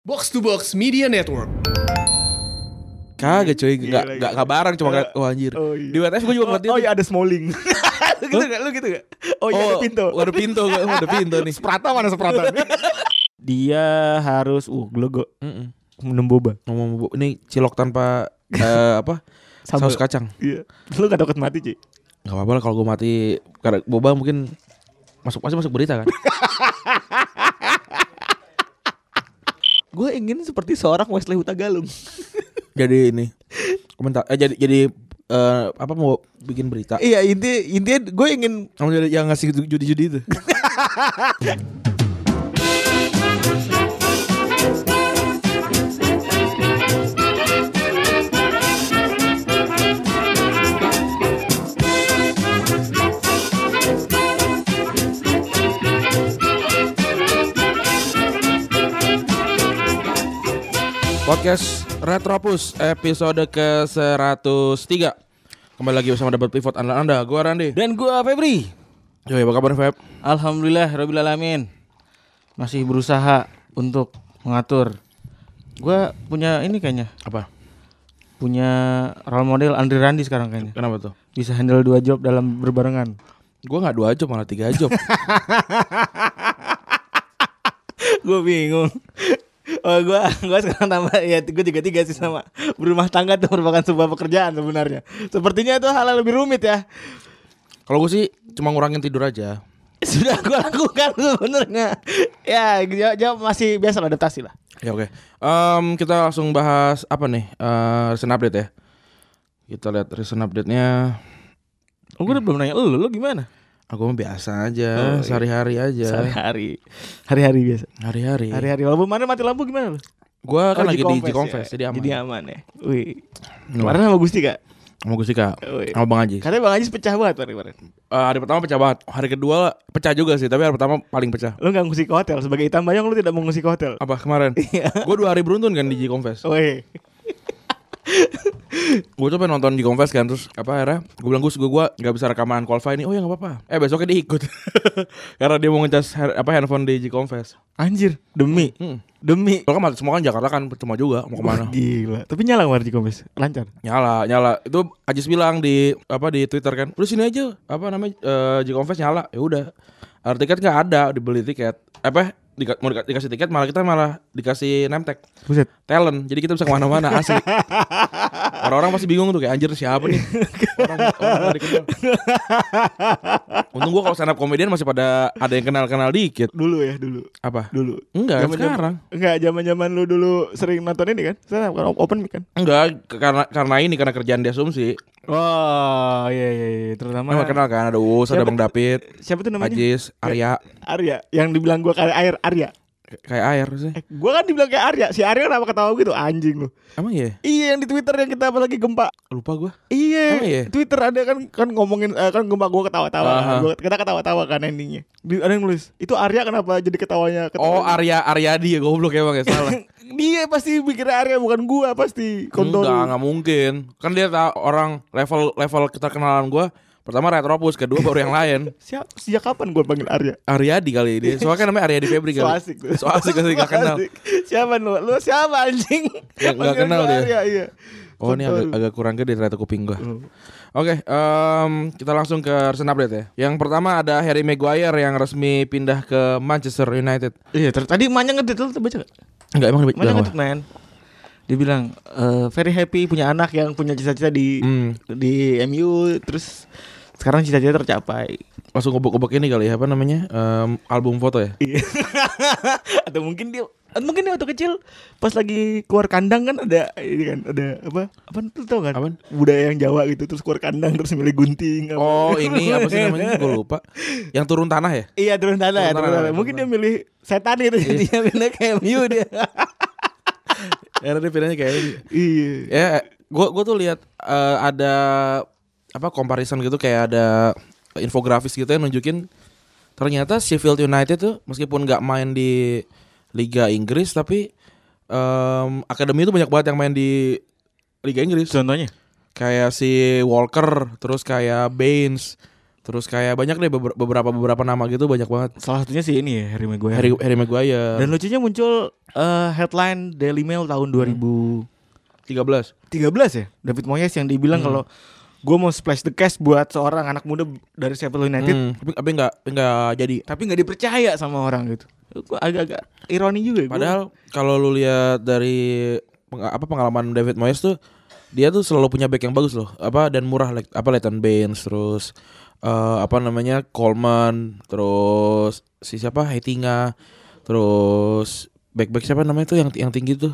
Box to Box Media Network. Kagak coy, Gila, gak, gila. gak kabaran cuma Gila. gak, oh anjir Oh, iya. Di WTF gue juga Oh, ngeliatnya oh iya ada Smalling. lu gitu gak? Lu gitu gak? Oh iya ada Pinto. Waduh pintu, gua- waduh pintu nih Prata mana seprata? Dia harus uh glego Mm-mm. minum boba. Ngomong bu, ini cilok tanpa eh, apa Sambal. saus kacang Iya. Lu gak takut mati, Ci? Gak apa-apa lah kalau gue mati karena boba mungkin masuk pasti masuk berita kan Gue ingin seperti seorang Wesley Huta Galung. Jadi ini komentar, eh, jadi jadi eh, apa mau bikin berita iya, inti intinya gue ingin Kamu jadi yang ngasih judi-judi itu Podcast Retropus episode ke-103 Kembali lagi bersama Double Pivot Andalan Anda, gue Randi Dan gua Febri. Yoi, apa kabar Feb? Alhamdulillah Rabbil Alamin. Masih berusaha untuk mengatur. Gua punya ini kayaknya, Apa? punya role model Andri Randi sekarang kayaknya. Kenapa tuh? Bisa handle dua job dalam berbarengan. Gue gak dua job, malah tiga job gue bingung. Oh, gua gua sekarang tambah ya gue tiga tiga sih sama berumah tangga itu merupakan sebuah pekerjaan sebenarnya. Sepertinya itu hal yang lebih rumit ya. Kalau gue sih cuma ngurangin tidur aja Sudah gue lakukan sebenarnya. Ya jawab, jawab masih biasa lah adaptasi lah. Ya oke Em, Kita langsung bahas apa nih? Eh, recent update ya Kita lihat recent update-nya Oh, gue belum nanya lu, lu gimana? Aku mah biasa aja, sehari-hari aja Ya. Oh, iya. Sehari-hari, hari-hari biasa. Hari-hari Hari-hari walaupun kemarin mati lampu gimana lu? Gue kan lagi di Confess G-Confess, jadi ya. aman Jadi aman ya. Wih. Nuh. Kemarin sama Gusti Kak. Sama gue sih kak, Wih. sama Bang Aji Katanya Bang Ajis pecah banget kemarin. Eh, hari pertama pecah banget. Hari kedua pecah juga sih, tapi hari pertama paling pecah. Lu gak ngusik ke hotel sebagai hitam bayang lu tidak mau ngusik ke hotel. Apa kemarin? Iya. gue dua hari beruntun kan di G Confess. Wih. Gue coba nonton G Confess kan, terus apa akhirnya? Gue bilang gue gue gue nggak bisa rekaman qualify ini. Oh ya nggak apa-apa. Eh besoknya dia ikut karena dia mau ngecas her- apa handphone di G Confess. Anjir, demi. Hmm. Demi. Lo kan mati- semua kan Jakarta kan percuma juga mau Wah, kemana? Gila. Tapi nyala kemarin di kompes. Lancar. nyala nyala itu Ajis bilang di apa di Twitter kan udah sini aja apa namanya eh, G Confess nyala ya udah Ada tiket nggak ada dibeli tiket Eh, apa dika- mau dika- dikasih tiket malah kita malah dikasih nemtek Buset. talent jadi kita bisa kemana-mana asli orang-orang pasti bingung tuh kayak anjir siapa nih orang, orang gak dikenal. untung gua kalau stand up komedian masih pada ada yang kenal-kenal dikit Dulu ya, dulu. apa Dulu. enggak Zaman-zaman- sekarang Enggak, zaman-zaman lu dulu sering nonton ini kan? Sana kan open mic kan? enggak ke- karena karena ini karena kerjaan di asumsi Wah, iya iya iya, Emang terutama kenal kan ada Uus ada Siapa Bang David siapa tuh namanya? Ajis Arya Arya, yang dibilang gua kayak air Arya. kayak air sih Eh, gua kan dibilang kayak Arya. Si Arya kenapa ketawa gitu anjing lu. emang ya Iya yang di Twitter yang kita apa lagi gempa. lupa gua Iya, Emang iya? Twitter ada kan kan ngomongin eh, kan gempa gua ketawa-tawa. Aha. Gua- kita ketawa-tawa kan endingnya. Di- Ada yang nulis, "Itu Arya kenapa jadi ketawanya?" oh ketawa. Arya Aryadi ya goblok emang ya salah Dia pasti pikir Arya bukan gua pasti. Kontol. Enggak, enggak mungkin. Kan dia tahu orang level level kita kenalan gua pertama Retropus, kedua baru yang lain. Siap, sejak kapan gua panggil Arya? Aryadi kali ini. Soalnya kan namanya Aryadi Febri So kali. asik tuh. So asik kali enggak kenal. Asik. Siapa lu? Lu siapa anjing? Ya, nggak Panggil kenal gua dia. Arya, iya. Oh, ini agak, Kontol. agak kurang gede ternyata kuping gua. Hmm. Oke, em, kita langsung ke recent update ya. Yang pertama ada Harry Maguire yang resmi pindah ke Manchester United. Iya, ter- tadi Manya ngedit lu tuh baca gak? Enggak emang dia Manya bilang ngedit, apa? man. Dia bilang eh, very happy punya anak yang punya cita-cita di Hmm, di MU terus sekarang cita-cita tercapai langsung kobok-kobok ini kali ya apa namanya? Em, album foto ya. atau mungkin dia mungkin dia waktu kecil pas lagi keluar kandang kan ada ini kan ada apa apa tuh tau kan Apaan? budaya yang Jawa gitu terus keluar kandang terus milih gunting apa. Oh, ini apa sih namanya? Gue lupa. Yang turun tanah ya? iya turun tanah Turun tanah, turun tanah. turun Iya. mungkin dia milih setan gitu jadinya pindah ke MU dia Ya, dia pindahnya kayak ini. iya ya gue gue tuh lihat eh, ada apa comparison gitu kayak ada infografis gitu yang nunjukin ternyata Sheffield United tuh meskipun nggak main di Liga Inggris tapi em, akademi itu banyak banget yang main di Liga Inggris contohnya kayak si Walker terus kayak Baines Terus kayak banyak deh beber- beberapa beberapa nama gitu banyak banget. Salah satunya sih ini ya Harry Maguire. Harry Harry Maguire Dan lucunya muncul eh, headline Daily Mail Hmm. tahun 2013 13. ya. David Moyes yang Hmm. dibilang kalau gue mau splash the cash buat seorang anak muda dari Sheffield United, Hmm, tapi tapi nggak nggak jadi. tapi nggak dipercaya sama orang gitu. Gue agak-agak ironi juga. gua. Padahal kalau lu lihat dari peng- apa pengalaman David Moyes tuh dia tuh selalu punya back yang bagus loh. Apa dan murah like, apa Leighton Baines terus eh, apa namanya Coleman terus si siapa Heitinga terus back-back siapa namanya tuh yang yang tinggi tuh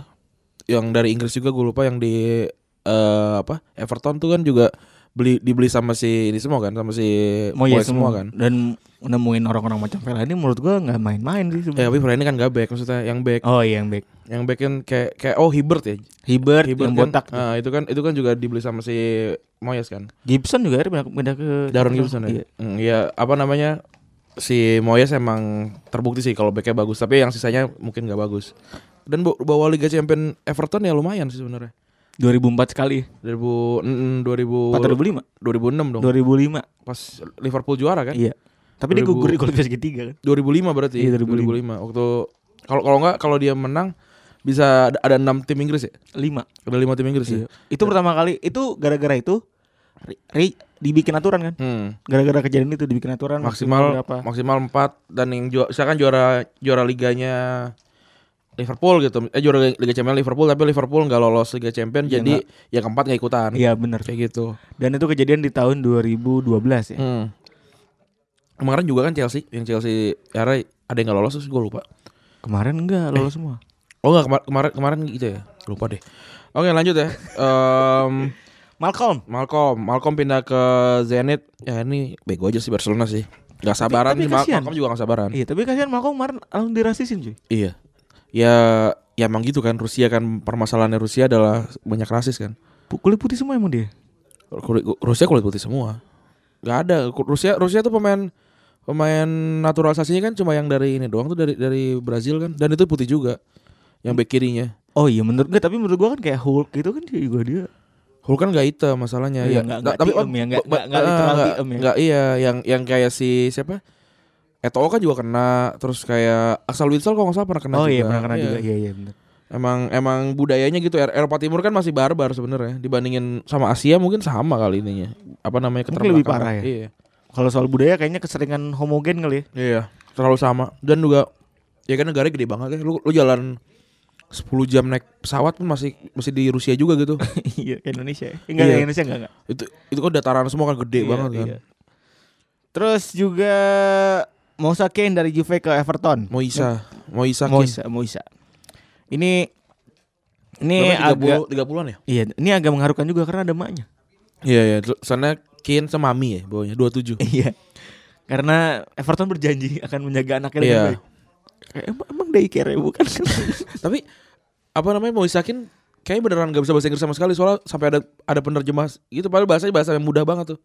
yang dari Inggris juga gue lupa yang di eh, apa Everton tuh kan juga beli dibeli sama si ini semua kan sama si Moyes semua semua kan. Dan nemuin orang-orang macam Fellaini menurut gue nggak main-main Eh sih sebenarnya. tapi ini kan gak back maksudnya yang back Oh iya yang back. yang back kan kayak kayak oh Hibbert ya Hibbert, Hibbert yang kan, botak. ah, itu kan itu kan juga dibeli sama si Moyes kan. Gibson juga akhirnya pindah, pindah ke Darren Gibson ya. Iya. Hmm, Iya, apa namanya? Si Moyes emang terbukti sih kalau backnya bagus, tapi yang sisanya mungkin nggak bagus. Dan bu- bawa Liga Champion Everton ya lumayan sih sebenarnya. 2004 sekali. 2000 mm, 2000 4 2005. 2006 dong. 2005. Pas Liverpool juara kan? Iya. Tapi dia 2000. gugur di kualifikasi ketiga kan. 2005 berarti. Iya, 2005. Waktu kalau kalau nggak kalau dia menang bisa ada- ada 6 tim Inggris ya? 5. Ada 5 tim Inggris ya? Gitu. Itu pertama kali itu gara-gara itu Ri, Ri- dibikin aturan kan. Hmm. Gara-gara kejadian itu dibikin aturan maksimal berapa? maksimal 4 dan yang juara misalkan juara juara liganya Liverpool gitu. Eh juara Liga Champions Liverpool tapi Liverpool nggak lolos Liga Champions jadi yang keempat nggak ikutan. Iya benar. Kayak gitu. Dan itu kejadian di tahun 2012 ya. Hmm. Kemarin juga kan Chelsea, yang Chelsea akhirnya ada yang nggak lolos terus gue lupa. Kemarin enggak lolos semua. Oh nggak kemar- kemarin kemarin gitu ya. Eh, Lupa deh. Oke, lanjut ya. Em, Malcolm. Malcolm, Malcolm pindah ke Zenit. Ya ini bego aja sih Barcelona sih. Gak sabaran tapi sih, Mal- kasihan. Malcolm juga gak sabaran. Iya, tapi kasihan Malcolm kemarin langsung dirasisin cuy. Iya. Ya ya emang gitu kan Rusia kan permasalahannya Rusia adalah banyak rasis kan. Pu- Kulit putih semua emang dia. Kul- Rusia kulit putih semua. Gak ada Rusia Rusia tuh pemain pemain naturalisasinya kan cuma yang dari ini doang tuh dari dari Brazil kan dan itu putih juga yang back kirinya. Oh iya menurut gue tapi menurut gue kan kayak Hulk gitu kan dia juga dia. Hulk kan gak hitam masalahnya Iya, ya. nggak- Nah, nggak tiem ya, ba- nggak- nggak- nggak eh, literal nggak- tiem ya. nggak, iya yang yang kayak si siapa? Eto'o kan juga kena terus kayak Axel Witsel kalau nggak salah pernah kena oh juga. iya pernah kena juga. Iya iya benar. Emang emang budayanya gitu Er- Eropa Timur kan masih barbar sebenarnya dibandingin sama Asia mungkin sama kali ininya. Apa namanya Mungkin lebih keterbelakangan. parah ya? Iya. Kalau soal budaya kayaknya keseringan homogen kali ya. Iya, terlalu sama. Dan juga ya kan negaranya gede banget ya. Lu lu jalan 10 jam naik pesawat pun masih masih di Rusia juga gitu. Iya, kayak Indonesia. ya. Enggak, Iya. kayak Indonesia enggak enggak. itu itu kan dataran semua kan gede Iya, banget kan. iya. Terus juga Moussa Kane dari Juve ke Everton. Moisa, Moisa Kin. Iya. Moisa, Moisa. Ini ini agak Berapa, 30 30-an ya? iya, ini agak mengharukan juga karena ada maknya. Iya, iya. Sana Kin sama Mami ya bawahnya 27. Iya. Karena Everton berjanji akan menjaga anaknya dengan Iya. baik. Eh, Emang, emang daycare ya, bukan? Tapi apa namanya mau isakin kayaknya beneran gak bisa bahasa Inggris sama sekali soalnya sampai ada ada penerjemah gitu padahal bahasanya bahasa yang mudah banget tuh.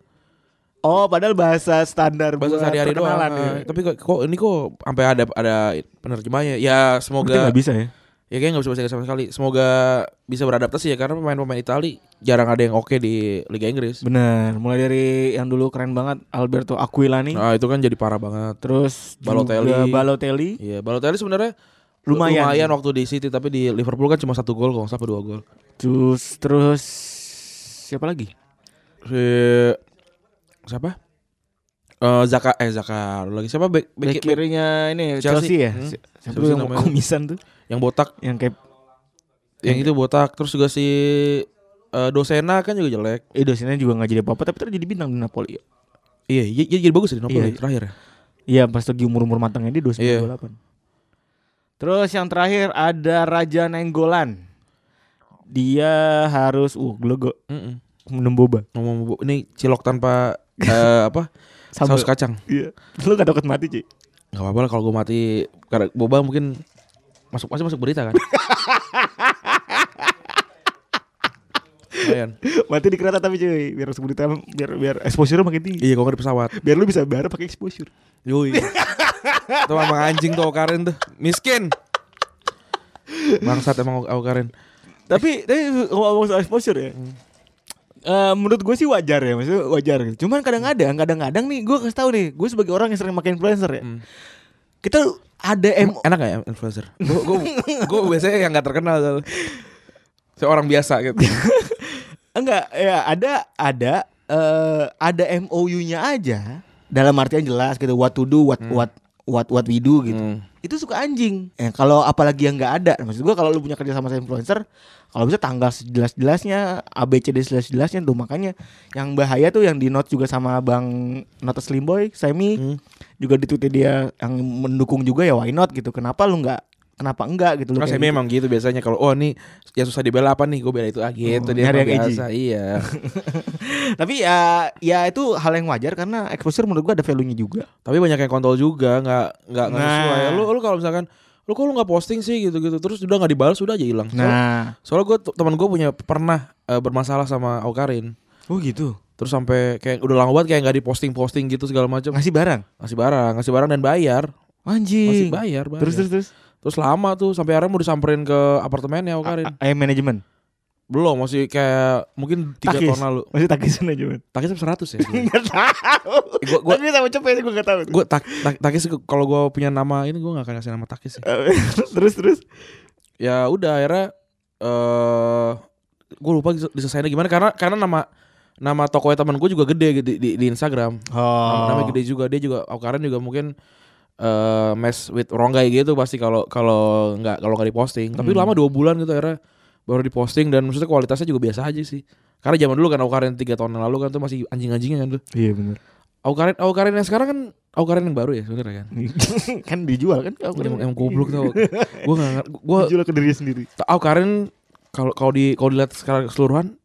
oh, padahal bahasa standar Bahasa buat sehari-hari doang. perkenalan, Nah, ya. Tapi kok, kok ini kok sampai ada ada penerjemahnya. Ya Berarti semoga nggak bisa ya. ya kayaknya gak bisa bahasa Inggris sama sekali. Semoga bisa beradaptasi ya karena pemain-pemain Itali jarang ada yang oke di Liga Inggris. Bener, mulai dari yang dulu keren banget Alberto Aquilani, Nah, itu kan jadi parah banget. terus Balotelli. juga Balotelli. Iya, Balotelli sebenarnya Lumayan. lumayan waktu di City tapi di Liverpool kan cuma satu gol kalau nggak salah apa dua gol. Terus terus siapa lagi? Si siapa? Eh Zaka eh Zaka lagi siapa back, back- Bek kirinya ini Chelsea. Chelsea, ya. Hmm. Si- Siapa Chelsea yang namanya. komisan tuh? yang botak Yang kayak yang itu botak terus juga si eh, Dosena kan juga jelek. eh dosennya juga nggak jadi apa-apa tapi terus jadi bintang di Napoli ya. Iya, iya, iya, jadi bagus ya di Napoli Iya. terakhir ya. Iya, pas lagi umur-umur matangnya dia 29 Iya. 28. Terus yang terakhir ada Raja Nenggolan. Dia harus uh glogo Mm-mm. minum boba. Ngomong bu, ini cilok tanpa eh, apa? Sambal. Saus kacang. Iya. Lu gak takut mati, Ci? Gak apa-apa lah kalau gue mati karena boba mungkin masuk pasti masuk berita kan. Lumayan. mati di kereta tapi cuy, biar sebut biar biar exposure makin tinggi. Iya, kok nggak di pesawat. Biar lu bisa bayar pakai exposure. Yoi. Tuh emang anjing tuh Okarin tuh. Miskin. Bangsat emang Ok- Okarin. tapi tapi ngomong soal exposure ya Eh, menurut gue sih wajar ya, maksudnya wajar. gitu. Cuman kadang-kadang, kadang-kadang nih, gue kasih tahu nih, gue sebagai orang yang sering pakai influencer ya, kita ada em Enak gak ya influencer? Gue biasanya yang gak terkenal soalnya. Saya orang biasa gitu enggak ya ada ada eh, ada MOU-nya aja dalam artian jelas gitu what to do, what what what what we do gitu. Hmm. Itu suka anjing. Eh kalau apalagi yang nggak ada, maksud gue kalau lu punya kerja sama sama influencer, kalau bisa tanggal sejelas-jelasnya, ABCD sejelas-jelasnya tuh makanya yang bahaya tuh yang di note juga sama Bang Notes Slimboy, Semi juga di tweetnya dia yang mendukung juga ya why not gitu. Kenapa lu nggak kenapa enggak gitu lu Terus saya kayak gitu. memang gitu biasanya kalau oh nih yang susah dibela apa nih gue bela itu ah gitu Oh, dia emang nyari yang edgy. biasa iya Tapi ya ya itu hal yang wajar karena exposure menurut gua ada value-nya juga. tapi banyak yang kontol juga nggak nggak nggak Nah. sesuai lu lu kalau misalkan lu kok lu nggak posting sih gitu gitu terus udah nggak dibalas udah aja hilang Soalnya- Nah, soalnya gue teman gue punya pernah eh, bermasalah sama Aukarin oh gitu. terus sampai kayak udah lama banget kayak nggak diposting posting gitu segala macam Ngasih barang. ngasih barang ngasih barang dan bayar masih Anjing. bayar, bayar. Terus terus terus. Terus lama tuh sampai akhirnya mau disamperin ke apartemennya Aukarin A- a- eh, manajemen. belum masih kayak mungkin tiga Takis. tahun lalu Masih takisan manajemen. takisnya seratus ya gua- Enggak tahu. gua, gua- Tapi sama cepet gue enggak tahu. tuh. gue tak, tak- takis kalau gue punya nama ini gue gak akan kasih nama takis sih. Eh, terus terus. ya udah akhirnya eh gue lupa dis- diselesainnya gimana karena karena nama nama toko teman gue juga gede di, di, di Instagram Oh. Nama- namanya gede juga dia juga Aukarin juga mungkin eh mess with Ronggai gitu pasti kalau kalau nggak kalau nggak diposting tapi Hmm. lama dua bulan gitu akhirnya baru diposting dan maksudnya kualitasnya juga biasa aja sih karena zaman dulu kan Aukarin tiga tahun yang lalu kan tuh masih anjing-anjingnya kan tuh Iya benar. Aukarin Aukarin yang sekarang kan Aukarin yang baru ya sebenarnya kan kan dijual kan? Aku Emang, emang goblok tau Gue gak ngerti Gue dijual ke dirinya sendiri. tau oh, Karin kalau kalau di kalau dilihat secara keseluruhan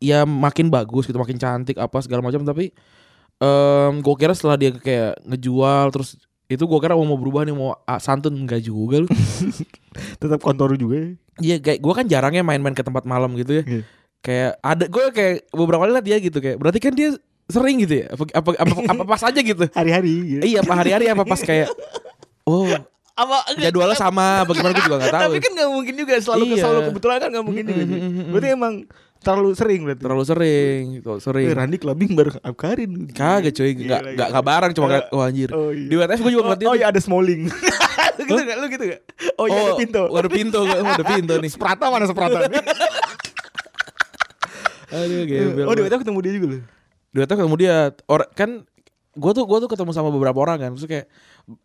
ya makin bagus gitu makin cantik apa segala macam tapi em gue kira setelah dia kayak ngejual terus itu gue kira mau mau berubah nih mau ah, santun enggak juga lu Tetap kantor juga. ya. Iya kayak gue kan jarangnya main-main ke tempat malam gitu ya Iya. kayak ada gue kayak beberapa kali liat dia gitu kayak berarti kan dia sering gitu ya apa apa apa, apa pas aja gitu Hari-hari. gitu. iya apa hari-hari apa pas kayak oh Apa jadwalnya sama bagaimana gue juga nggak tahu Tapi kan enggak mungkin juga selalu ke Iya. selalu kebetulan kan enggak mungkin juga. Mm-mm, sih. mm-mm, Berarti emang terlalu sering berarti. terlalu sering gitu, sering Eh, Randy clubbing baru Abkarin. kagak cuy Gila, nggak gila. nggak nggak bareng cuma ngeliat oh anjir Iya, Oh, iya. di WTF gue juga Oh, ngeliat dia oh tuh. iya ada Smalling. lu gitu gak? Lu gitu gak? Oh iya ada pintu. oh, ada pintu gua- oh, ada pintu nih Prata mana seprata? aduh gembel Oh, di WhatsApp ketemu dia juga lu. di WTF ketemu dia Or- kan gue tuh gue tuh ketemu sama beberapa orang kan terus kayak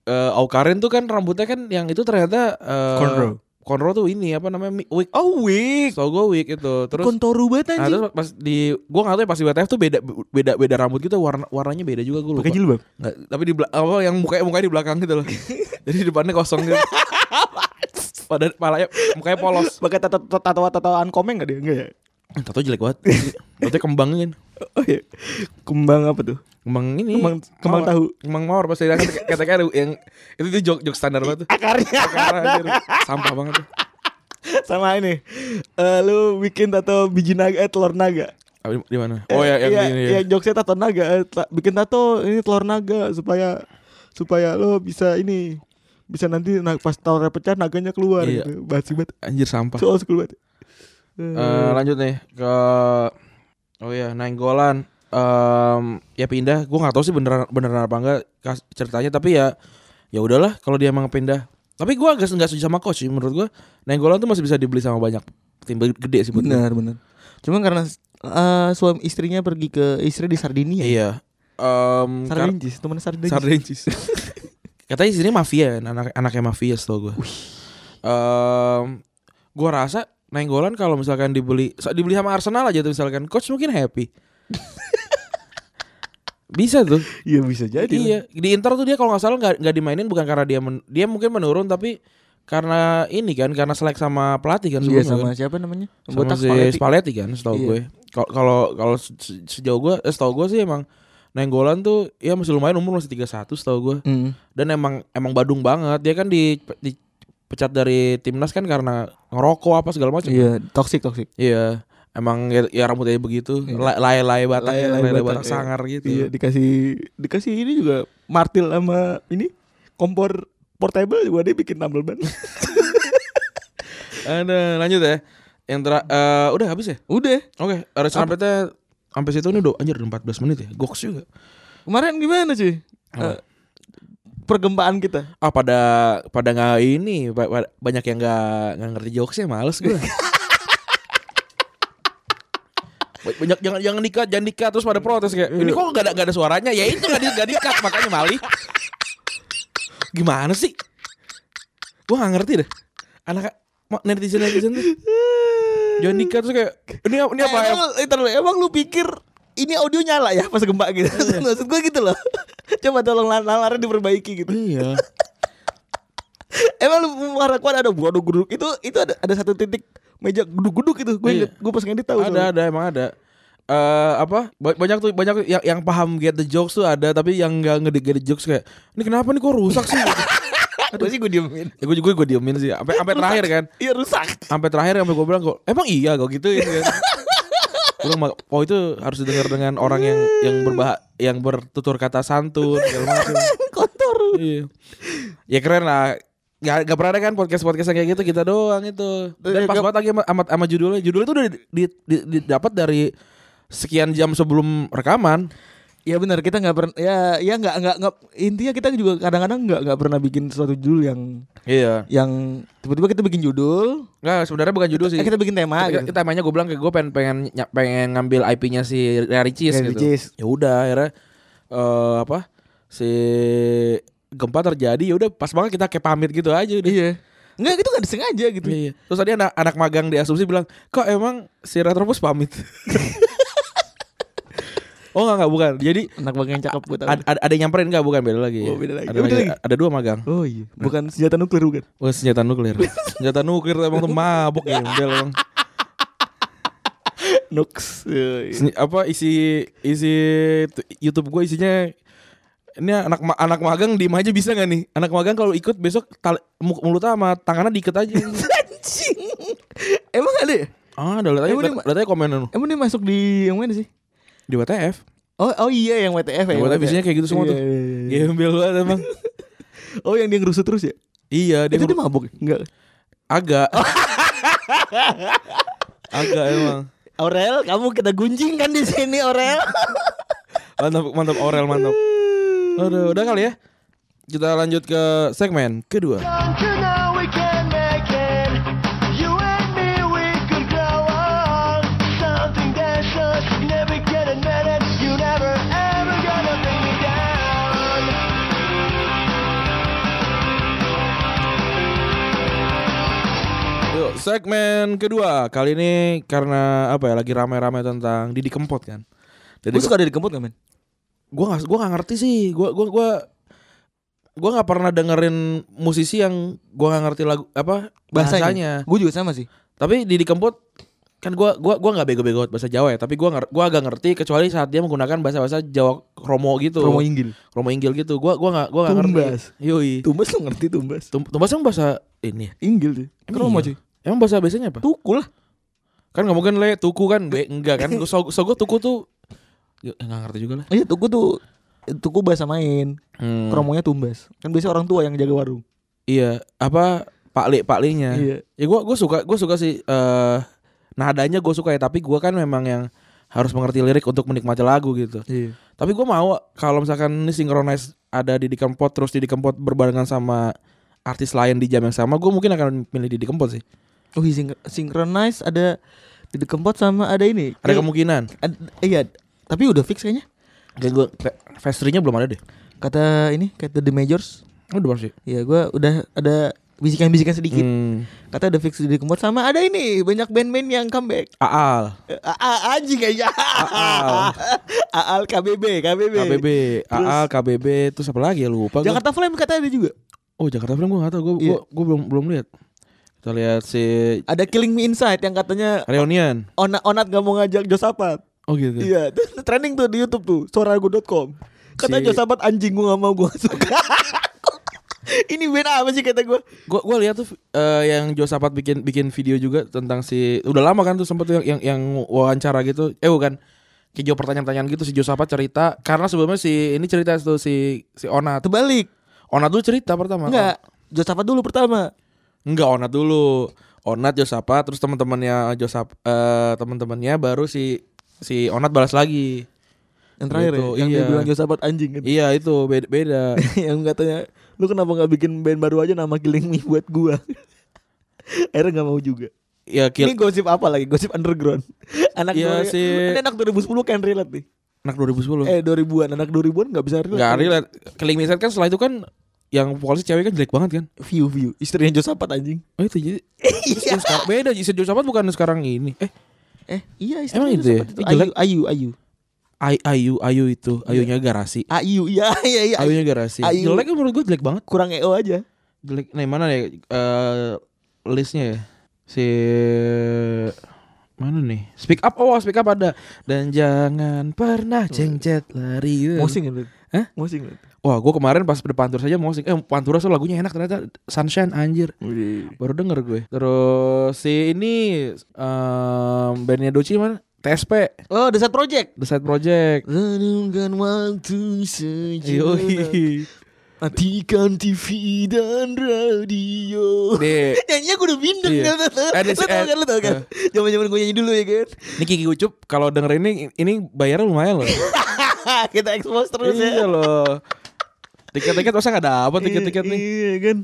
eh, Aukarin tuh kan rambutnya kan yang itu ternyata eh, Cornrow. cornrow tuh ini apa namanya mi- wig Oh, wig. so gue wig itu terus Kontoru Nah, banget anjing. terus pas di gua nggak tahu ya pas di WTF tuh beda beda beda rambut gitu warna warnanya beda juga gue lupa. Pakai jilbab. Nggak, tapi di belakang apa yang mukanya mukanya di belakang gitu loh. Jadi depannya kosong gitu. Pada palanya mukanya polos. Pakai tato tato tatoan komeng gak dia? Enggak ya? Tato jelek banget. Tato kembangnya kan. Oh iya. Kembang apa tuh? Kembang ini. Kembang kembang mawar. tahu. Kembang mawar pas dia kata kata kata yang itu tuh jok jok standar banget tuh. Akarnya Parah, anjir. Sampah banget tuh. sama ini. Eh, lu bikin tato biji naga eh, telur naga. Apa di- di mana? Oh ya yang iya, ini. Iya, ya. jokesnya tato naga. Eh, ta- bikin tato ini telur naga supaya supaya lo bisa ini bisa nanti na- pas telurnya pecah naganya keluar Iya. gitu. Basi banget. Anjir sampah. Soal school banget. Hmm. Eh, lanjut nih ke oh ya Nainggolan Em, ya pindah gue nggak tahu sih beneran beneran apa enggak kas- ceritanya tapi ya ya udahlah kalau dia emang pindah tapi gue agak nggak setuju sama coach sih menurut gue Nainggolan tuh masih bisa dibeli sama banyak tim gede sih buat gua. Benar, benar. Cuma karena eh, suami istrinya pergi ke istri di Sardinia. iya Em, kar- Sardencis, teman Sardencis. Sardencis katanya sini mafia kan, anak anaknya mafia setahu gue Em, gue rasa Nainggolan kalau misalkan dibeli sa- dibeli sama Arsenal aja tuh misalkan coach mungkin happy bisa tuh Iya bisa jadi. iya di Inter tuh dia kalau nggak salah nggak nggak dimainin bukan karena dia men- dia mungkin menurun tapi karena ini kan karena selek sama pelatih kan Iya sebelumnya sama kan. siapa namanya? Sama Botak si Spalletti. Spalletti kan setahu Iya. gue Kal- kalau kalau se- se- sejauh gue eh, setahu gue sih emang Nainggolan tuh ya masih lumayan umur masih 31 setahu gue Hmm. dan emang emang Badung banget dia kan di, dipecat dari timnas kan karena ngerokok apa segala macam Iya, toksik toksik. Iya. emang ya, ya rambutnya begitu lai lai batak Lai- lai lai lai Iya. batak, batak iya. sangar gitu Iya, dikasih dikasih ini juga martil sama ini kompor portable juga dia bikin tambal ban. ada lanjut ya Yang tera- eh, udah habis ya? Udah. Oke, Racing Update-nya sampai situ ini udah anjir udah 14 menit ya. Goks juga. Kemarin gimana sih? Apa? Eh, pergempaan kita. Ah pada pada nggak ini ba- ba- banyak yang nggak nggak ngerti jokesnya males gue. banyak jangan jangan dikat jangan dikat terus pada protes kayak ini kok gak ada gak ada suaranya ya itu gak di gak dikat makanya mali gimana sih gue gak ngerti deh anak ma- netizen netizen tuh jangan dikat terus kayak ini apa- ini Eh, apa ya? emang, eh, taruh, emang lu pikir ini audio nyala ya pas gempa gitu? Maksud gue gitu loh. Coba tolong nalarnya diperbaiki gitu. iya Emang lu harapan ada waduh guduk itu itu ada ada satu titik meja guduk-guduk itu. Gue Iya. inget, gue pas ngedit tahu. ada ada emang ada eh apa ba- banyak tuh banyak tuh yang yang paham get the jokes tuh ada tapi yang nggak ngede get the jokes kayak ini kenapa nih kok rusak sih Gitu. Aduh sih gue diemin. ya, gue gue gue diemin sih sampai sampai terakhir kan Iya rusak. sampai terakhir sampai gue bilang kok emang iya kok gitu ya kan Gue bilang, oh itu harus didengar dengan orang yang yang berbah yang bertutur kata santun segala macam Gitu. Kotor. iya ya keren lah Gak, gak pernah ada kan podcast-podcast yang kayak gitu kita doang itu Dan pas Gak- banget lagi sama, sama, sama judulnya Judulnya itu udah di, di, di- didapat dari sekian jam sebelum rekaman Ya benar kita nggak pernah ya ya nggak nggak nggak intinya kita juga kadang-kadang nggak nggak pernah bikin suatu judul yang Iya yang tiba-tiba kita bikin judul, Nah sebenarnya bukan judul sih eh, kita bikin tema Kita- gitu. kita temanya gue bilang kayak gue pengen pengen ny- pengen ngambil IP-nya si Rary Cheese Rary gitu. Cheese. Ya udah akhirnya eh, apa si gempa terjadi ya udah pas banget kita kayak pamit gitu aja udah. Iya. Enggak itu nggak disengaja gitu. Iya. Terus tadi anak anak magang di asumsi bilang kok emang si Retropus pamit. oh enggak enggak bukan. Jadi Anak bang yang cakep gue tahu. ada, ada ada yang nyamperin enggak bukan beda lagi. Oh, beda lagi. Ada, Beda lagi. lagi. ada dua magang. Oh iya, bukan senjata nuklir bukan. Oh senjata nuklir. senjata nuklir emang tuh mabok ya model emang. Nux. Iya, iya. Sen- apa isi isi t- YouTube gue isinya ini anak ma- anak magang diem aja bisa nggak nih anak magang kalau ikut besok tal- mu- mulutnya sama tangannya diikat aja Anjing. Emang ada? ya? ah udah lihat aja Emang dia lihat- ma- lihat aja komen lu. Emang dia masuk di yang mana sih? di WTF Oh oh iya yang WTF Yang WTF isinya kayak gitu semua Iya, tuh. iya, iya, iya. gembel banget emang Oh yang dia ngerusut terus ya? iya dia itu dia ngeru- mabuk? ya? Enggak. agak agak emang Aurel, kamu kita gunjing kan di sini Aurel. mantap mantap Orel mantap Aduh, udah kali ya kita lanjut ke segmen kedua Until now we can make it. You and me, we could grow on. Something that's us, you never get admitted. You never ever gonna bring me down. Yuk, segmen kedua kali ini karena apa ya lagi ramai-ramai tentang Didi Kempot kan. Jadi Gue suka dari kempot gak men? gua nggak gua nggak ngerti sih. Gua gua gua gua nggak pernah dengerin musisi yang gua nggak ngerti lagu apa bahasanya. Gue gitu. juga sama sih. Tapi Didi Kempot kan gua gua gua nggak bego-bego bahasa Jawa ya, tapi gua nger- gua agak ngerti kecuali saat dia menggunakan bahasa-bahasa Jawa Romo gitu. Romo Inggil. Romo Inggil gitu. Gua gua nggak gua nggak ngerti. Tumbas. Yoi. Tumbas lo ngerti tumbas. Tum- Tumbas emang bahasa ini. ya? Inggil sih. Emang iya? Emang bahasa biasanya apa? Tukul lah. Kan nggak mungkin le tuku kan Be, enggak kan so, so gue tuku tuh ya, nggak ngerti juga lah. Iya tuku tuh tuku bahasa main. Hmm. Kromonya tumbas. Kan biasanya orang tua yang jaga warung. Iya apa Pak Le Pak Le nya. Iya. Ya gue gue suka gue suka sih eh nadanya gue suka ya tapi gue kan memang yang harus mengerti lirik untuk menikmati lagu gitu. Iya. Tapi gue mau kalau misalkan ini synchronize ada di Kempot terus di Kempot berbarengan sama artis lain di jam yang sama gue mungkin akan milih Didi Kempot sih. Oh iya, syn- synchronize ada di kempot sama ada ini. Ada Yang- kemungkinan. ad- iya, tapi udah fix kayaknya. Kayak gue Vestrinya belum ada deh. Kata ini kata The Majors. Oh, Udah pasti. Ya gua udah ada bisikan-bisikan sedikit. Hmm. Kata udah fix di kempot sama ada ini banyak band-band yang comeback. Aal, Eh, AA anjing kayaknya. Aal. AAL KBB, KBB. KBB, AAL, KBB, terus apa lagi ya lupa. gua. Jakarta Flame kata ada juga. Oh Jakarta Film gue gak tau, gue Iya. gue belum belum lihat. Kita lihat si Ada Killing Me Inside yang katanya Reunion. Onat Onat gak mau ngajak Josapat. Oh gitu. Iya, itu trending tuh di YouTube tuh, suarago.com. Kata Si- Josapat anjing gua gak mau gua nggak suka. Ini band apa sih kata gua? Gue gue lihat tuh eh, yang Josapat bikin bikin video juga tentang si udah lama kan tuh sempet tuh yang yang, yang wawancara gitu. Eh bukan. Kayak jawab pertanyaan-pertanyaan gitu si Josapat cerita karena sebelumnya si ini cerita tuh si si Onat. Terbalik. Onat dulu cerita pertama. Enggak, Josapat dulu pertama. Enggak Onat dulu. Onat Josapa terus teman-temannya Josap eh teman-temannya baru si si Onat balas lagi. Yang terakhir Gitu, ya, yang iya. dibilang Josabat anjing gitu. Iya itu beda. beda. yang katanya lu kenapa nggak bikin band baru aja nama Killing Me buat gua. Akhirnya nggak mau juga. ya kill Ini gosip apa lagi? Gosip underground. Anak Iya, dua- si- Ini anak 2010 kan relate nih. anak 2010. Eh 2000-an, anak 2000-an enggak bisa relate. Enggak relate. Killing Me Inside kan setelah itu kan yang vokalis cewek kan jelek banget kan. View view. Istrinya Josapat anjing. Oh itu jadi Iya. terus yang sekarang, beda Jason Josaphat bukan sekarang ini. Eh Eh, iya Emang Josaphat itu ya? Itu Ayu, jelek. ayu, ayu. Ay- Ayu Ayu itu Ayunya garasi. Ayu, iya, iya, iya. Ayu. Ayunya garasi. Ayu. Jelek kan menurut gue jelek banget. Kurang EO aja. Jelek. Nah, mana ya eh, listnya ya? Si mana nih? Speak up. Oh, speak up ada. Dan jangan pernah cengcet lari. gitu. Mosing itu. Hah? Mosing kan? itu. Wah, gue kemarin pas di Pantura saja mau Eh, Pantura tuh lagunya enak ternyata Sunshine anjir. Baru denger gue. Terus si ini em, bandnya Doci mana? TSP, Oh, The Set Project. The Side Project. Renungkan waktu Iya, sejenak Yoi. Matikan TV dan radio Di Nyanyinya gue udah bindeng Iya. kan tau Ada si- Lo Eh. tau kan, lo tau kan Zaman-zaman gue nyanyi dulu ya kan ini Kiki Ucup kalau denger ini ini bayarnya lumayan loh. Oh, Kita expose terus ya iya loh. Tiket-tiket masa gak dapat tiket-tiket nih. Iya kan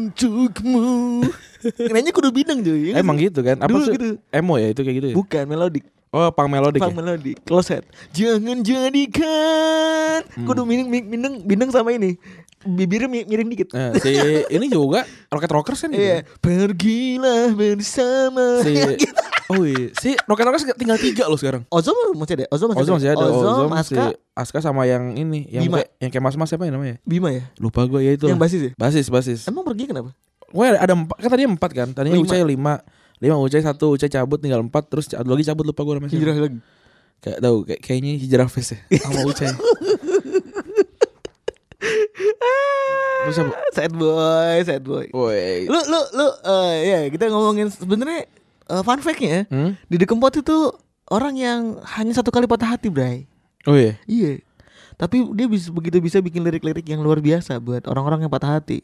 Untukmu Nyanyinya gue udah bindeng cuy Iya kan? Emang gitu kan? Apa Dulu sih? gitu. Emo ya itu kayak gitu ya? Bukan melodik Oh, pang melodic Pang ya? melodi Closet Jangan jadikan Hmm. Gue udah bindeng, bindeng, bindeng sama ini Bibirnya mi- miring dikit Nah, si ini juga Rocket Rockers kan gitu. kan? Iya, pergilah bersama. Si Yang gitu. Oh iya, si Rocket Rockers tinggal tiga loh sekarang. Ozom masih ada, Ozom masih, Ozom masih ada, Ozom, Ozom, si Aska, Aska sama yang ini, yang Bima. kayak, yang kayak mas-mas siapa ya namanya? Bima ya. Lupa gue ya itu. Yang basis ya. Basis, basis. Emang pergi kenapa? Gue ada, ada empat, kan tadi empat kan? Tadinya Lima. Ucai lima, lima Ucai satu, Ucai cabut tinggal empat, terus ada lagi cabut lupa gue namanya. siapa. Hijrah lagi. Kayak tahu, kayak, kayaknya hijrah face ya, sama Ucai. terus apa? Sad boy, sad boy. Woi, Lu lu lu eh, ya kita ngomongin sebenarnya eh, fun fact-nya ya. Hmm? Di Kempot itu orang yang hanya satu kali patah hati, Bray. Oh iya. Iya. Tapi dia bisa begitu bisa bikin lirik-lirik yang luar biasa buat orang-orang yang patah hati.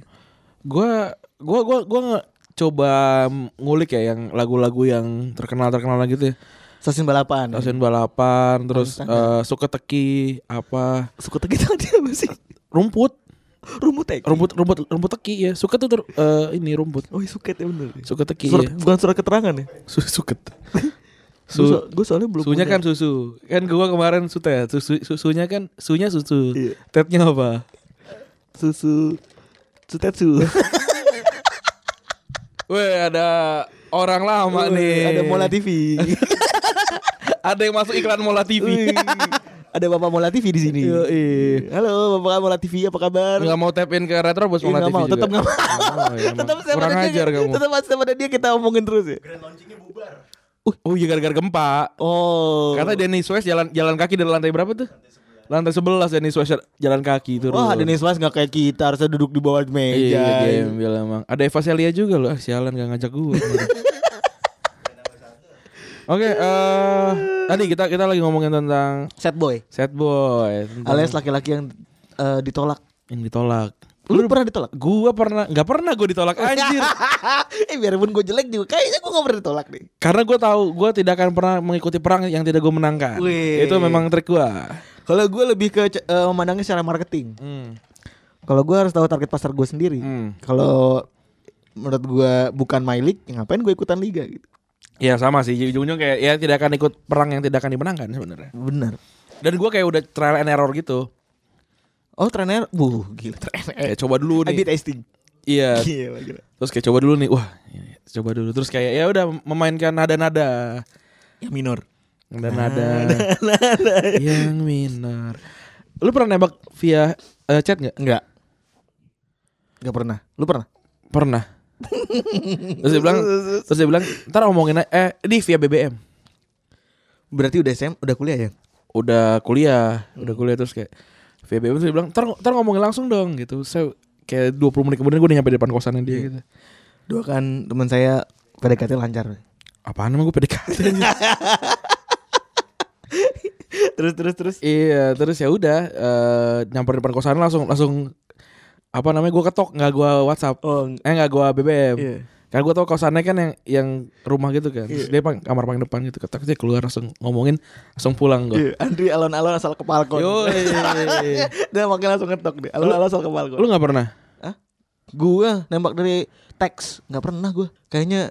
Gua gua gua gua nge- coba ngulik ya yang lagu-lagu yang terkenal-terkenal gitu ya. Stasiun balapan. Stasiun balapan, terus eh, Tangan-tangan. suka teki apa? Suka kita dia apa sih? Rumput, Rumput ya? rumput rumput rumput teki ya. Suka tuh ter- eh, ini rumput. Oh, suket ya bener. Suka teki Surat, ya. Bukan surat keterangan ya? Su suket. Su, Su gue soalnya belum sunya punya. kan susu. Kan gua kemarin sutet, susu susunya kan sunya susu. Iya. Tetnya apa? susu sutetsu Weh, ada orang lama nih. ada Mola TV Ada yang masuk iklan Mola TV. Wih, ada bapak Mola TV di sini Yoi. halo bapak Mola TV apa kabar Nggak mau tap in ke retro bos Ih, Mola nggak TV mau, juga. tetap nggak mau. Oh, iya, emang. tetap sama Kurang dia, ajar kamu. tetap sama dia kita omongin terus ya Oh iya gara-gara gempa. oh Kata Dennis West jalan jalan kaki dari lantai berapa tuh? Lantai 11 Dennis West jalan kaki turun. Wah, Dennis Mas gak kayak kita harusnya duduk di bawah meja. Iya, gembel emang. Ada Eva Celia juga loh. Ah, sialan gak ngajak gua. kemarin. Oke, eh, tadi kita kita lagi ngomongin tentang Sad boy, sad boy, tentang alias laki-laki yang eh, ditolak. yang ditolak. Lu pernah ditolak? Gua pernah, nggak pernah gua ditolak anjir. eh biarpun gue jelek juga, kayaknya gue gak pernah ditolak deh. Karena gue tahu gue tidak akan pernah mengikuti perang yang tidak gue menangkan. Wih. Itu memang trik gue. Kalau gue lebih ke eh, memandangnya secara marketing. Kalau gue harus tahu target pasar gue sendiri. Hmm. Kalau menurut gue bukan my league, ya ngapain gue ikutan liga gitu? Ya sama sih. Ujung-ujungnya kayak ya tidak akan ikut perang yang tidak akan dimenangkan sebenarnya. Bener. Dan gue kayak udah trial and error gitu. Oh trainer, buh gila Eh, trainer. Kayak coba dulu A/B nih. testing. Iya. Gila gila. Terus kayak coba dulu nih. Wah, ini, coba dulu. Terus kayak ya udah memainkan nada-nada. Ya minor. Dan nada. yang minor. Lu pernah nembak via eh, chat nggak? Enggak. Enggak pernah. Lu pernah? Pernah. terus dia bilang, terus dia bilang, ntar omongin aja- eh ini via BBM. Berarti udah SM, udah kuliah ya? udah kuliah, udah kuliah terus kayak VBM terus dia bilang, "Ntar ntar ngomongin langsung dong." gitu. Saya kayak 20 menit kemudian gue udah nyampe depan kosannya dia gitu. Doakan kan teman saya PDKT lancar. Apaan emang gue PDKT? terus terus terus. iya, terus ya udah eh, nyamper depan kosannya langsung langsung apa namanya gue ketok nggak gue WhatsApp Oh, eh nggak gue BBM Iya. Karena gue tau kosannya kan yang yang rumah gitu kan. Terus dia pang, kamar paling depan gitu. Ketak dia keluar langsung ngomongin, langsung pulang gue. Iya, Andri alon-alon asal kepala kon. Yoi. Dia makin langsung ngetok deh. Alon-alon asal kepala kon. Lu nggak pernah? Gua nembak dari teks nggak pernah gua. Kayaknya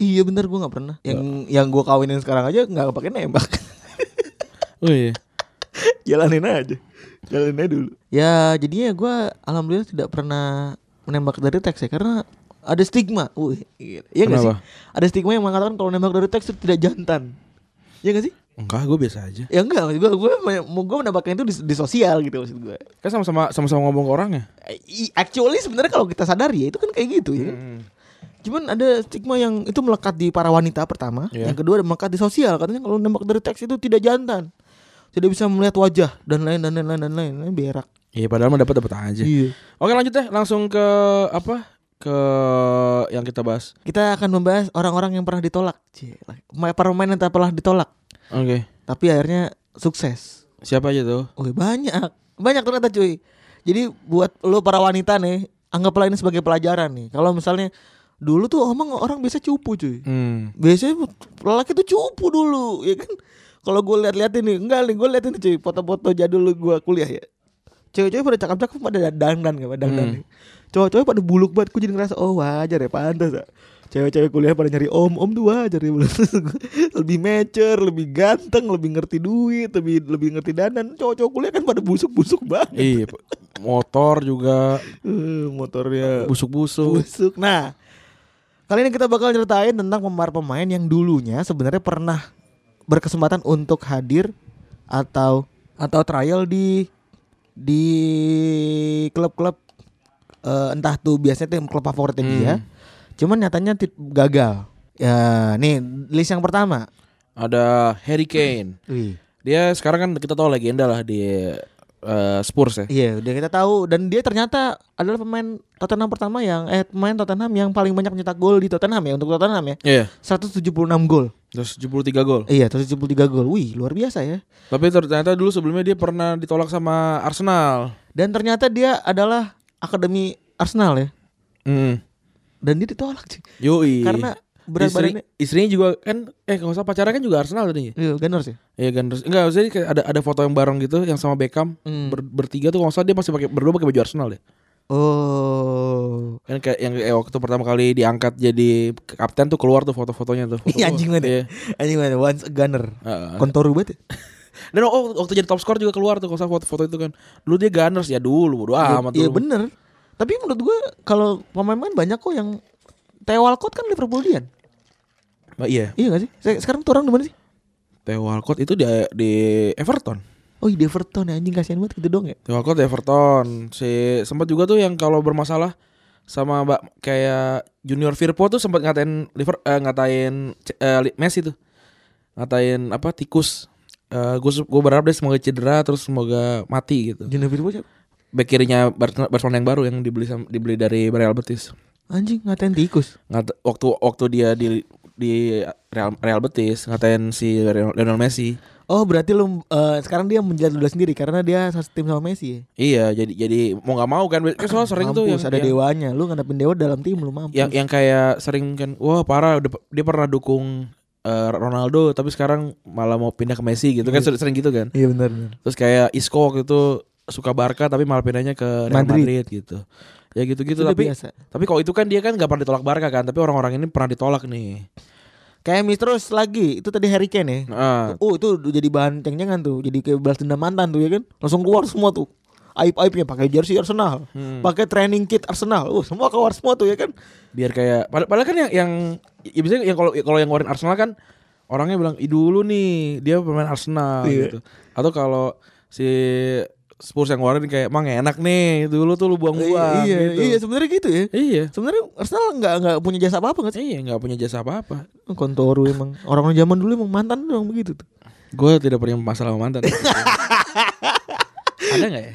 iya bener gua nggak pernah. Yang yang gua kawinin sekarang aja nggak pakai nembak. Oh iya. Jalanin aja. Jalanin aja dulu. Ya jadinya gua alhamdulillah tidak pernah menembak dari teks ya karena ada stigma. Wih, iya Iya nggak sih? Kenapa? Ada stigma yang mengatakan kalau nembak dari teks itu tidak jantan. Iya gak sih? Enggak, gue biasa aja. Ya enggak, maksud gue gue gue menambahkan itu di, di sosial gitu maksud gue. Kan sama-sama sama-sama ngomong ke ya? orangnya. I- Actually sebenarnya kalau kita sadari ya itu kan kayak gitu ya. kan? Cuman ada stigma yang itu melekat di para wanita pertama, Iya. yang kedua ada melekat di sosial katanya kalau nembak dari teks itu tidak jantan. Tidak bisa melihat wajah dan lain dan lain dan lain, dan lain berak. Iya, padahal mah dapat dapat aja. Iya. Oke, lanjut deh langsung ke apa? Ke yang kita bahas. Kita akan membahas orang-orang yang pernah ditolak. Cie, Para pemain yang tak pernah ditolak Oke. tapi akhirnya sukses. Siapa aja tuh? Oke banyak Banyak ternyata cuy Jadi buat lo para wanita nih Anggaplah ini sebagai pelajaran nih Kalau misalnya Dulu tuh emang orang biasa cupu cuy Hmm. Biasanya lelaki tuh cupu dulu Ya kan Kalau gue lihat-liatin nih Enggak nih gue liatin nih cuy Foto-foto jadul gue kuliah ya Cewek-cewek pada cakep-cakep pada dandan gak pada dandan nih Cowok-cowok pada buluk banget Gue jadi ngerasa oh wajar ya pantas ya Cewek-cewek kuliah pada nyari om-om tuh wajar ya Lebih mature, lebih ganteng, lebih ngerti duit, lebih lebih ngerti dandan Cowok-cowok kuliah kan pada busuk-busuk banget Iya, motor juga Eh, Motornya busuk-busuk. busuk. Nah, kali ini kita bakal ceritain tentang pemain-pemain yang dulunya sebenarnya pernah berkesempatan untuk hadir atau atau trial di di klub-klub eh, entah tuh biasanya tim klub favoritnya dia. Cuman nyatanya ti- gagal. Ya, nih list yang pertama. Ada Harry Kane. Dia sekarang kan kita tahu legenda lah di eh, Spurs ya. Iya, udah kita tahu dan dia ternyata adalah pemain Tottenham pertama yang eh pemain Tottenham yang paling banyak mencetak gol di Tottenham ya untuk Tottenham ya. Iya, 176 gol. 173 gol. Iya, 173 gol. Wih, luar biasa ya. Tapi ternyata dulu sebelumnya dia pernah ditolak sama Arsenal. Dan ternyata dia adalah akademi Arsenal ya. Hmm. Dan dia ditolak sih. Yoi. Karena berat Istri- badannya istrinya juga kan eh kalau usah pacarnya kan juga Arsenal tadinya. Iya, Gunners ya. Iya kan terus enggak maksudnya kayak ada ada foto yang bareng gitu yang sama Beckham Hmm. ber- bertiga tuh kalau nggak salah dia masih pakai berdua pakai baju Arsenal deh. Oh. Kan kayak yang eh, waktu pertama kali diangkat jadi kapten tuh keluar tuh foto-fotonya tuh. Foto Iya Ah, anjing banget. ya. Iya. Anjing banget once a gunner. Heeh. Kontoru banget. ya. Dan oh, waktu jadi top score juga keluar tuh kalau nggak salah foto-foto itu kan. Dulu dia Gunners ya dulu bodo amat Iya dulu. bener. Tapi menurut gua kalau pemain-pemain banyak kok yang Theo Walcott kan Liverpoolian. Nah, iya. Iya gak sih? Se- Sekarang tuh orang di mana sih? Theo Walcott itu di di Everton. Oh, di Everton ya anjing kasihan banget gitu dong ya. Theo Walcott di Everton. Si sempat juga tuh yang kalau bermasalah sama Mbak kayak Junior Firpo tuh sempat ngatain liver eh, ngatain C- eh, Li- Messi tuh. Ngatain apa tikus. Eh, gue gue berharap dia semoga cedera terus semoga mati gitu. Junior Firpo siapa? Bek kirinya Barcelona Barcelona yang baru yang dibeli sam- dibeli dari Real Betis. Anjing ngatain tikus. Ngata, waktu waktu dia di di Real, Real Betis ngatain si Lionel Messi. Oh berarti lu eh, sekarang dia menjelat dulu sendiri karena dia satu tim sama Messi ya? Iya, jadi jadi mau nggak mau kan, kan soalnya sering tuh yang Mampus, ada yang, dewanya Ya. Lu ngadepin dewa dalam tim lu mampus yang yang kayak sering kan, wah parah udah- dia pernah dukung eh, Ronaldo tapi sekarang malah mau pindah ke Messi gitu kan sering gitu kan. Iya benar benar. Terus kayak Isco waktu itu suka Barca tapi malah pindahnya ke Real Madrid. Madrid, gitu. Ya gitu-gitu Itu udah tapi biasa. tapi kalau itu kan dia kan nggak pernah ditolak Barca kan, tapi orang-orang ini pernah ditolak nih. Kayak Mistrus lagi Itu tadi Harry Kane ya Nah, Oh itu udah jadi bahan ceng-cengan tuh Jadi kayak balas dendam mantan tuh ya kan Langsung keluar semua tuh Aib-aibnya pakai jersey Arsenal Pakai training kit Arsenal Oh semua keluar semua tuh ya kan biar kayak padahal, padahal kan yang yang ya biasanya yang kalau kalau yang ngeluarin Arsenal kan orangnya bilang "Ih, dulu nih dia pemain Arsenal Iya. gitu atau kalau si Spurs yang ngeluarin kayak mang enak nih dulu tuh lu buang-buang Iya gitu iya sebenarnya gitu ya iya Sebenarnya Arsenal nggak nggak punya jasa apa-apa nggak sih? iya nggak punya jasa apa-apa Kontoru emang orang-orang zaman dulu emang mantan tuh emang begitu tuh. gue tidak punya masalah sama mantan ada nggak ya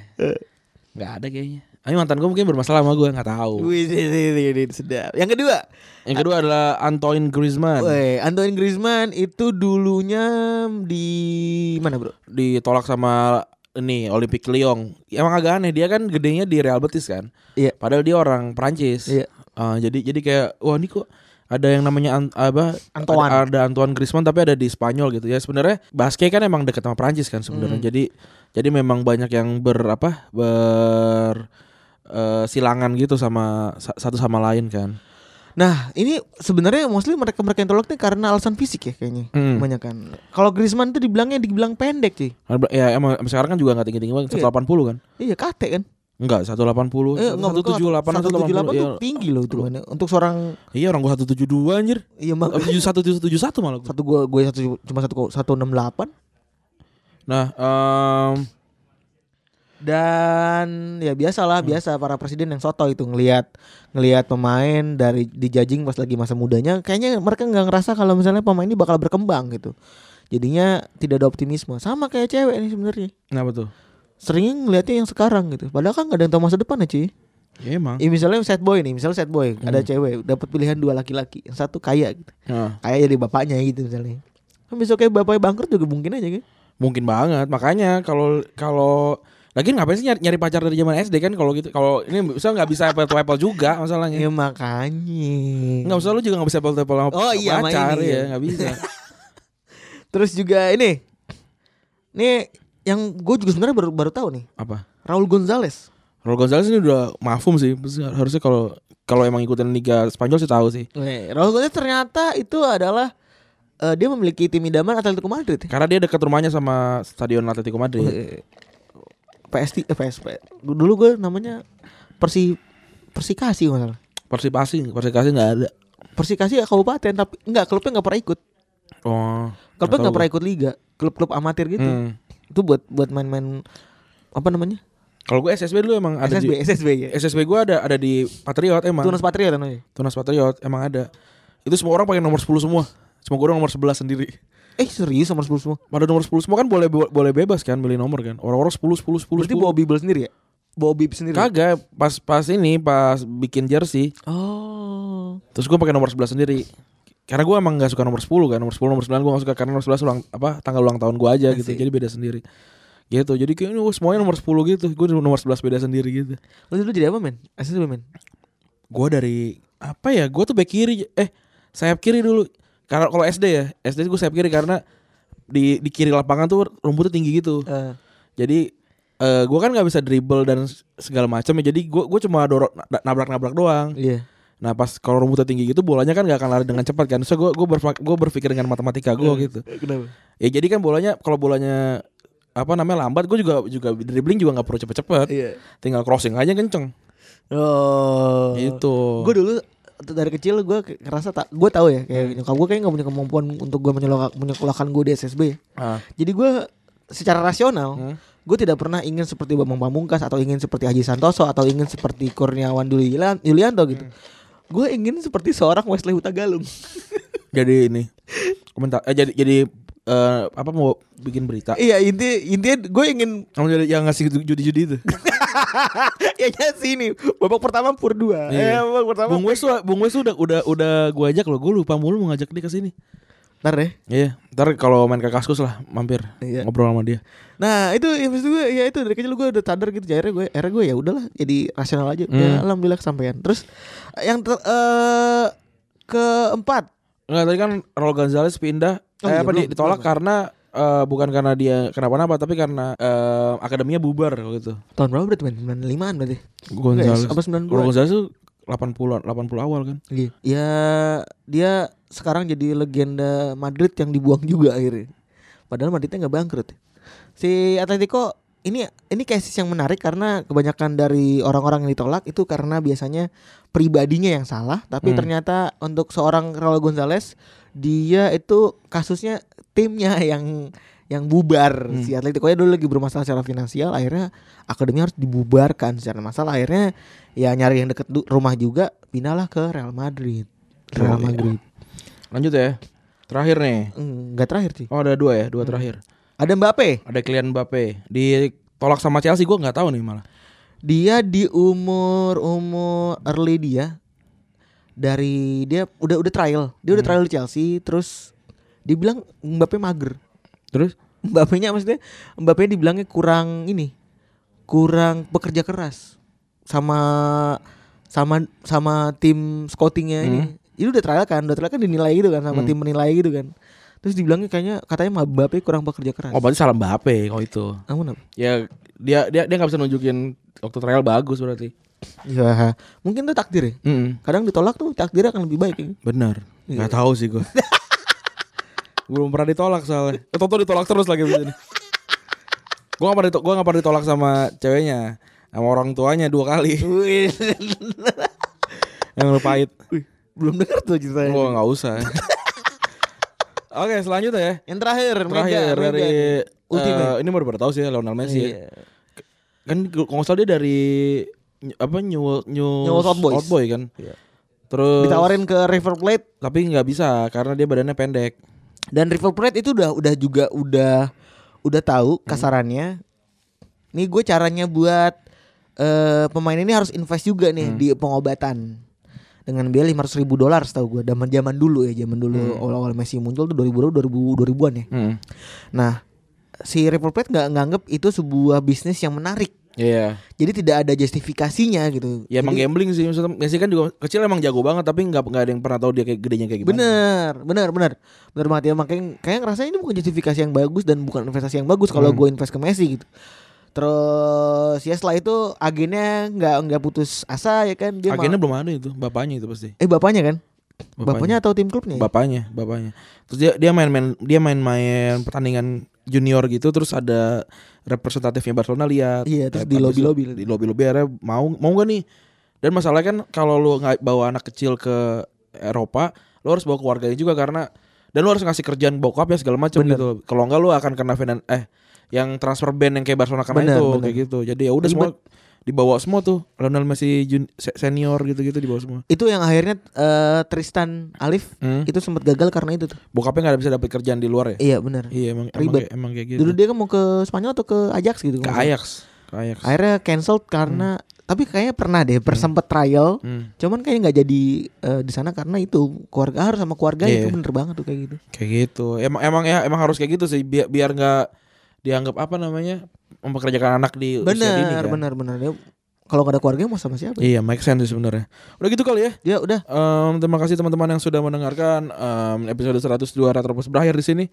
nggak ada kayaknya Ayo mantan gue mungkin bermasalah sama gue nggak tahu Wih, wih, wih, wih, wih, sedap. Yang kedua, yang kedua adalah Antoine Griezmann Woi, Antoine Griezmann itu dulunya di mana, Bro? ditolak sama ini Olympic Lyon. Emang agak aneh dia kan gedenya di Real Betis kan. Iya. Padahal dia orang Perancis. Iya. Eh, jadi jadi kayak wah ini kok ada yang namanya An- apa Antoine. ada, ada Antoine Griezmann tapi ada di Spanyol gitu ya sebenarnya basket kan emang dekat sama Prancis kan sebenarnya Hmm. jadi jadi memang banyak yang ber apa ber eh, silangan gitu sama sa- satu sama lain kan Nah, ini sebenarnya mostly mereka-mereka yang tolak nih karena alasan fisik ya kayaknya. Hmm. Banyak kan. Kalau Griezmann tuh dibilangnya dibilang pendek, cuy. ya emang emang sekarang kan juga nggak tinggi tinggi banget Iya. 180 kan Iya, kate kan. enggak 180 Eh, Oh, enggak, satu tujuh delapan 178 iya, tuh tinggi loh itu loh. untuk seorang iya orang gua 172 anjir iya mak tujuh satu tujuh satu malah gua. satu gua gue satu cuma satu satu enam delapan nah em dan ya biasalah Hmm. biasa para presiden yang soto itu ngelihat ngelihat pemain dari dijajing pas lagi masa mudanya kayaknya mereka nggak ngerasa kalau misalnya pemain ini bakal berkembang gitu jadinya tidak ada optimisme sama kayak cewek nih sebenarnya kenapa tuh seringnya ngelihatnya yang sekarang gitu padahal kan nggak ada yang tahu masa depan ya cuy ya emang ya, misalnya sad boy nih misalnya sad boy ada cewek dapat pilihan dua laki-laki yang satu kaya gitu Nah, kaya jadi bapaknya gitu misalnya kan besoknya bapaknya bangkrut juga mungkin aja kan mungkin banget makanya kalau kalau lagi ngapain sih nyari, nyari pacar dari zaman SD kan kalau gitu kalau ini bisa nggak bisa apple to apple juga masalahnya ya makanya Iya. nggak usah lu juga nggak bisa apple to apple sama Oh, iya, sama pacar ini, ya iya. nggak bisa Terus juga ini. Nih yang gue juga sebenarnya baru baru tahu nih. apa Raul Gonzalez. Raul Gonzalez ini udah mafum sih Terus harusnya kalau kalau emang ikutin Liga Spanyol sih tahu sih Raul Gonzalez ternyata itu adalah eh, dia memiliki tim idaman Atletico Madrid. karena dia dekat rumahnya sama stadion Atletico Madrid Eh, PST eh, PSP. Dulu gue namanya Persi Persikasi nggak salah. Persipasi Persipasi nggak ada Persikasi ya kabupaten tapi enggak klubnya nggak pernah ikut. oh Klubnya tahu nggak pernah gua. ikut liga, klub-klub amatir gitu. Hmm. Itu buat buat main-main apa namanya? kalau gue SSB dulu emang ada SSB, di SSB ya. SSB gue ada ada di Patriot emang Tunas Patria kan, namanya. Tunas Patriot emang ada. Itu semua orang pakai nomor 10 semua. Cuma gue doang nomor 11 sendiri. Eh serius nomor 10 semua. Pada nomor 10 semua kan boleh boleh bebas kan milih nomor kan. Orang-orang 10 10 10. Berarti 10. bawa Bible sendiri ya? Bawa Bib sendiri. Kagak pas pas ini pas bikin jersey Oh. terus gue pakai nomor 11 sendiri. Karena gue emang gak suka nomor 10 kan Nomor 10, nomor 9 gue gak suka Karena nomor 11 ulang, apa, tanggal ulang tahun gue aja gitu Jadi beda sendiri Gitu Jadi kayaknya wah, semuanya nomor 10 gitu Gue nomor 11 beda sendiri gitu Lu dulu jadi apa men? SSB men? Gue dari Apa ya Gue tuh back kiri Eh sayap kiri dulu Karena kalau SD ya SD gue sayap kiri karena di, di kiri lapangan tuh rumputnya tinggi gitu Eh, Jadi eh gue kan nggak bisa dribble dan s- segala macam ya. Jadi gue gue cuma dorok na- nabrak-nabrak doang. Iya Nah pas kalau rumputnya tinggi gitu bolanya kan nggak akan lari dengan cepat kan. So gue gue gue berpikir dengan matematika gue gitu. Kenapa? Ya jadi kan bolanya kalau bolanya apa namanya lambat gue juga juga dribbling juga nggak perlu cepet-cepet. Iya Tinggal crossing aja kenceng. Oh Gitu. Gue dulu t- dari kecil gue ke- ngerasa tak gue tahu Hmm. ya kayak nyokap gue kayaknya nggak punya kemampuan untuk gue menyekolahkan menyekolahkan gue di SSB ya. Ah. Hmm. jadi gue secara rasional gue tidak pernah ingin seperti Bambang Pamungkas atau ingin seperti Haji Santoso atau ingin seperti Kurniawan Duli Yula- Yulianto gitu Hmm. gue ingin seperti seorang Wesley Hutagalung Jadi ini komentar. Eh jadi jadi eh, apa mau bikin berita? iya inti intinya gue ingin Kamu jadi yang ngasih judi-judi itu. ya ya sih ini babak pertama pur 2 Iya. eh babak pertama Bung Wes tuh- Bung Wes tuh udah udah udah gue ajak loh. Gue lupa mulu mau ngajak dia ke sini. ntar deh Iya, ntar kalau main ke Kaskus lah mampir Iya. ngobrol sama dia. nah itu ya maksud gue ya itu dari kecil gue udah sadar gitu akhirnya gue akhirnya gue ya udahlah jadi rasional aja ya alhamdulillah kesampaian terus yang ter, eh, keempat Enggak, tadi kan Raul Gonzalez pindah Oh, eh, iya, apa belum, di- ditolak belum. karena eh, bukan karena dia kenapa-napa tapi karena eh, akademinya bubar gitu. tahun berapa berarti men 95an berarti Gonzalez. apa Raul 92 Gonzalez tuh 80-an, 80 awal kan. Iya. ya dia sekarang jadi legenda Madrid yang dibuang juga akhirnya padahal Madridnya nggak bangkrut si Atletico ini ini kasus yang menarik karena kebanyakan dari orang-orang yang ditolak itu karena biasanya pribadinya yang salah tapi ternyata untuk seorang Raul Gonzalez dia itu kasusnya timnya yang yang bubar si Atletico nya dulu lagi bermasalah secara finansial akhirnya akademi harus dibubarkan secara masalah akhirnya ya nyari yang deket du- rumah juga pindahlah ke Real Madrid Real Madrid Lanjut ya. Terakhir nih. Hmm, nggak terakhir sih Oh, ada dua ya, dua terakhir. ada Mbappe Ada Kylian Mbappe ditolak sama Chelsea gue nggak tahu nih malah. dia di umur umur early dia dari dia udah udah trial dia udah trial di Chelsea terus dibilang Mbappe mager Terus Mbappe-nya maksudnya Mbappe dibilangnya kurang ini kurang bekerja keras sama sama sama tim scoutingnya ini ini udah trial kan udah trial kan dinilai gitu kan sama tim penilai gitu kan terus dibilangnya kayaknya katanya Mbappe kurang bekerja keras Oh berarti salah Mbappe kalau itu. namun apa? Ya dia dia dia nggak bisa nunjukin waktu trial bagus berarti. ya mungkin tuh takdir ya Mm kadang ditolak tuh takdir akan lebih baik ya. Benar. Nggak tahu sih gue. Iya. belum pernah ditolak soalnya. Eh, Toto ditolak terus lagi begini. gue nggak pernah ditolak, gua nggak pernah ditolak sama ceweknya, sama orang tuanya dua kali. Yang lu pahit. belum dengar tuh ceritanya Gue nggak usah. Oke selanjutnya ya. yang terakhir Terakhir Medan, dari Medan. Ultimate. eh, ini baru baru tahu sih ya, Lionel Messi. ya. Iya. kan kalau nggak salah dia dari ny- apa New New, New Old Boys. Iya. Boy kan terus ditawarin ke River Plate tapi nggak bisa karena dia badannya pendek dan River Plate itu udah udah juga udah udah tahu Hmm. kasarannya nih gue caranya buat eh, pemain ini harus invest juga nih Hmm. di pengobatan dengan biaya 500 ribu dolar setahu gue zaman zaman dulu ya zaman Hmm. dulu awal-awal Messi muncul tuh 2000 2000 2000-an ya nah si River Plate nggak nganggep itu sebuah bisnis yang menarik Iya, jadi tidak ada justifikasinya gitu ya emang Jadi- gambling sih maksudnya Messi kan juga kecil emang jago banget tapi nggak nggak ada yang pernah tahu dia kayak gedenya kayak gimana. Bener, bener, bener, bener banget ya. Makanya kayak ngerasa ini bukan justifikasi yang bagus dan bukan investasi yang bagus Hmm. kalau gue invest ke Messi gitu. Terus ya setelah itu agennya nggak nggak putus asa ya kan dia. ma- Agennya belum ada itu, bapaknya itu pasti. eh bapaknya kan? Bapaknya, Bapaknya. atau tim klubnya? ya? Bapaknya, bapaknya. Terus dia dia main-main dia main-main pertandingan junior gitu terus ada representatifnya Barcelona lihat. Iya, terus Eh, di habis itu lobby-lobby. Di lobby-lobby akhirnya mau mau gak nih? Dan masalahnya kan kalau lu nggak bawa anak kecil ke Eropa, lu harus bawa keluarganya juga karena dan lu harus ngasih kerjaan bokap ya segala macam gitu. Kalau enggak lu akan kena finan eh yang transfer ban yang kayak Barcelona kena Bener, itu bener. kayak gitu. Jadi ya udah semua dibawa semua tuh Lionel Messi jun- se- senior gitu-gitu dibawa semua. Itu yang akhirnya eh, Tristan Alif Hmm. itu sempat gagal karena itu tuh. Bokapnya nggak bisa dapet kerjaan di luar ya? Iya bener. Iya emang emang Ribet. kayak, emang kayak gitu. Dulu dia kan mau ke Spanyol atau ke Ajax gitu? ke kalau nggak salah. Ajax, Hmm. ke Ajax. Akhirnya cancelled karena tapi kayaknya pernah deh persempet trial. Hmm, Cuman kayaknya nggak jadi eh, di sana karena itu keluarga harus sama keluarga Iya. itu bener banget tuh kayak gitu. kayak gitu. Emang emang ya emang harus kayak gitu sih biar biar nggak dianggap apa namanya mempekerjakan anak di usia Bener, dini kan. bener, bener. Dia kalau nggak ada keluarga mau sama siapa? Iya, make sense sih sebenarnya. Udah gitu kali ya. Dia udah. Em, terima kasih teman-teman yang sudah mendengarkan Em, episode 102 Retropos berakhir di sini.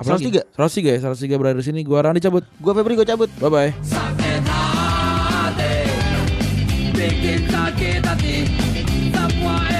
103. 103 ya, 103 berakhir di sini. Gua Rani cabut. Gua Febri gue cabut. Bye bye. sakit hati Bikin sakit hati Semua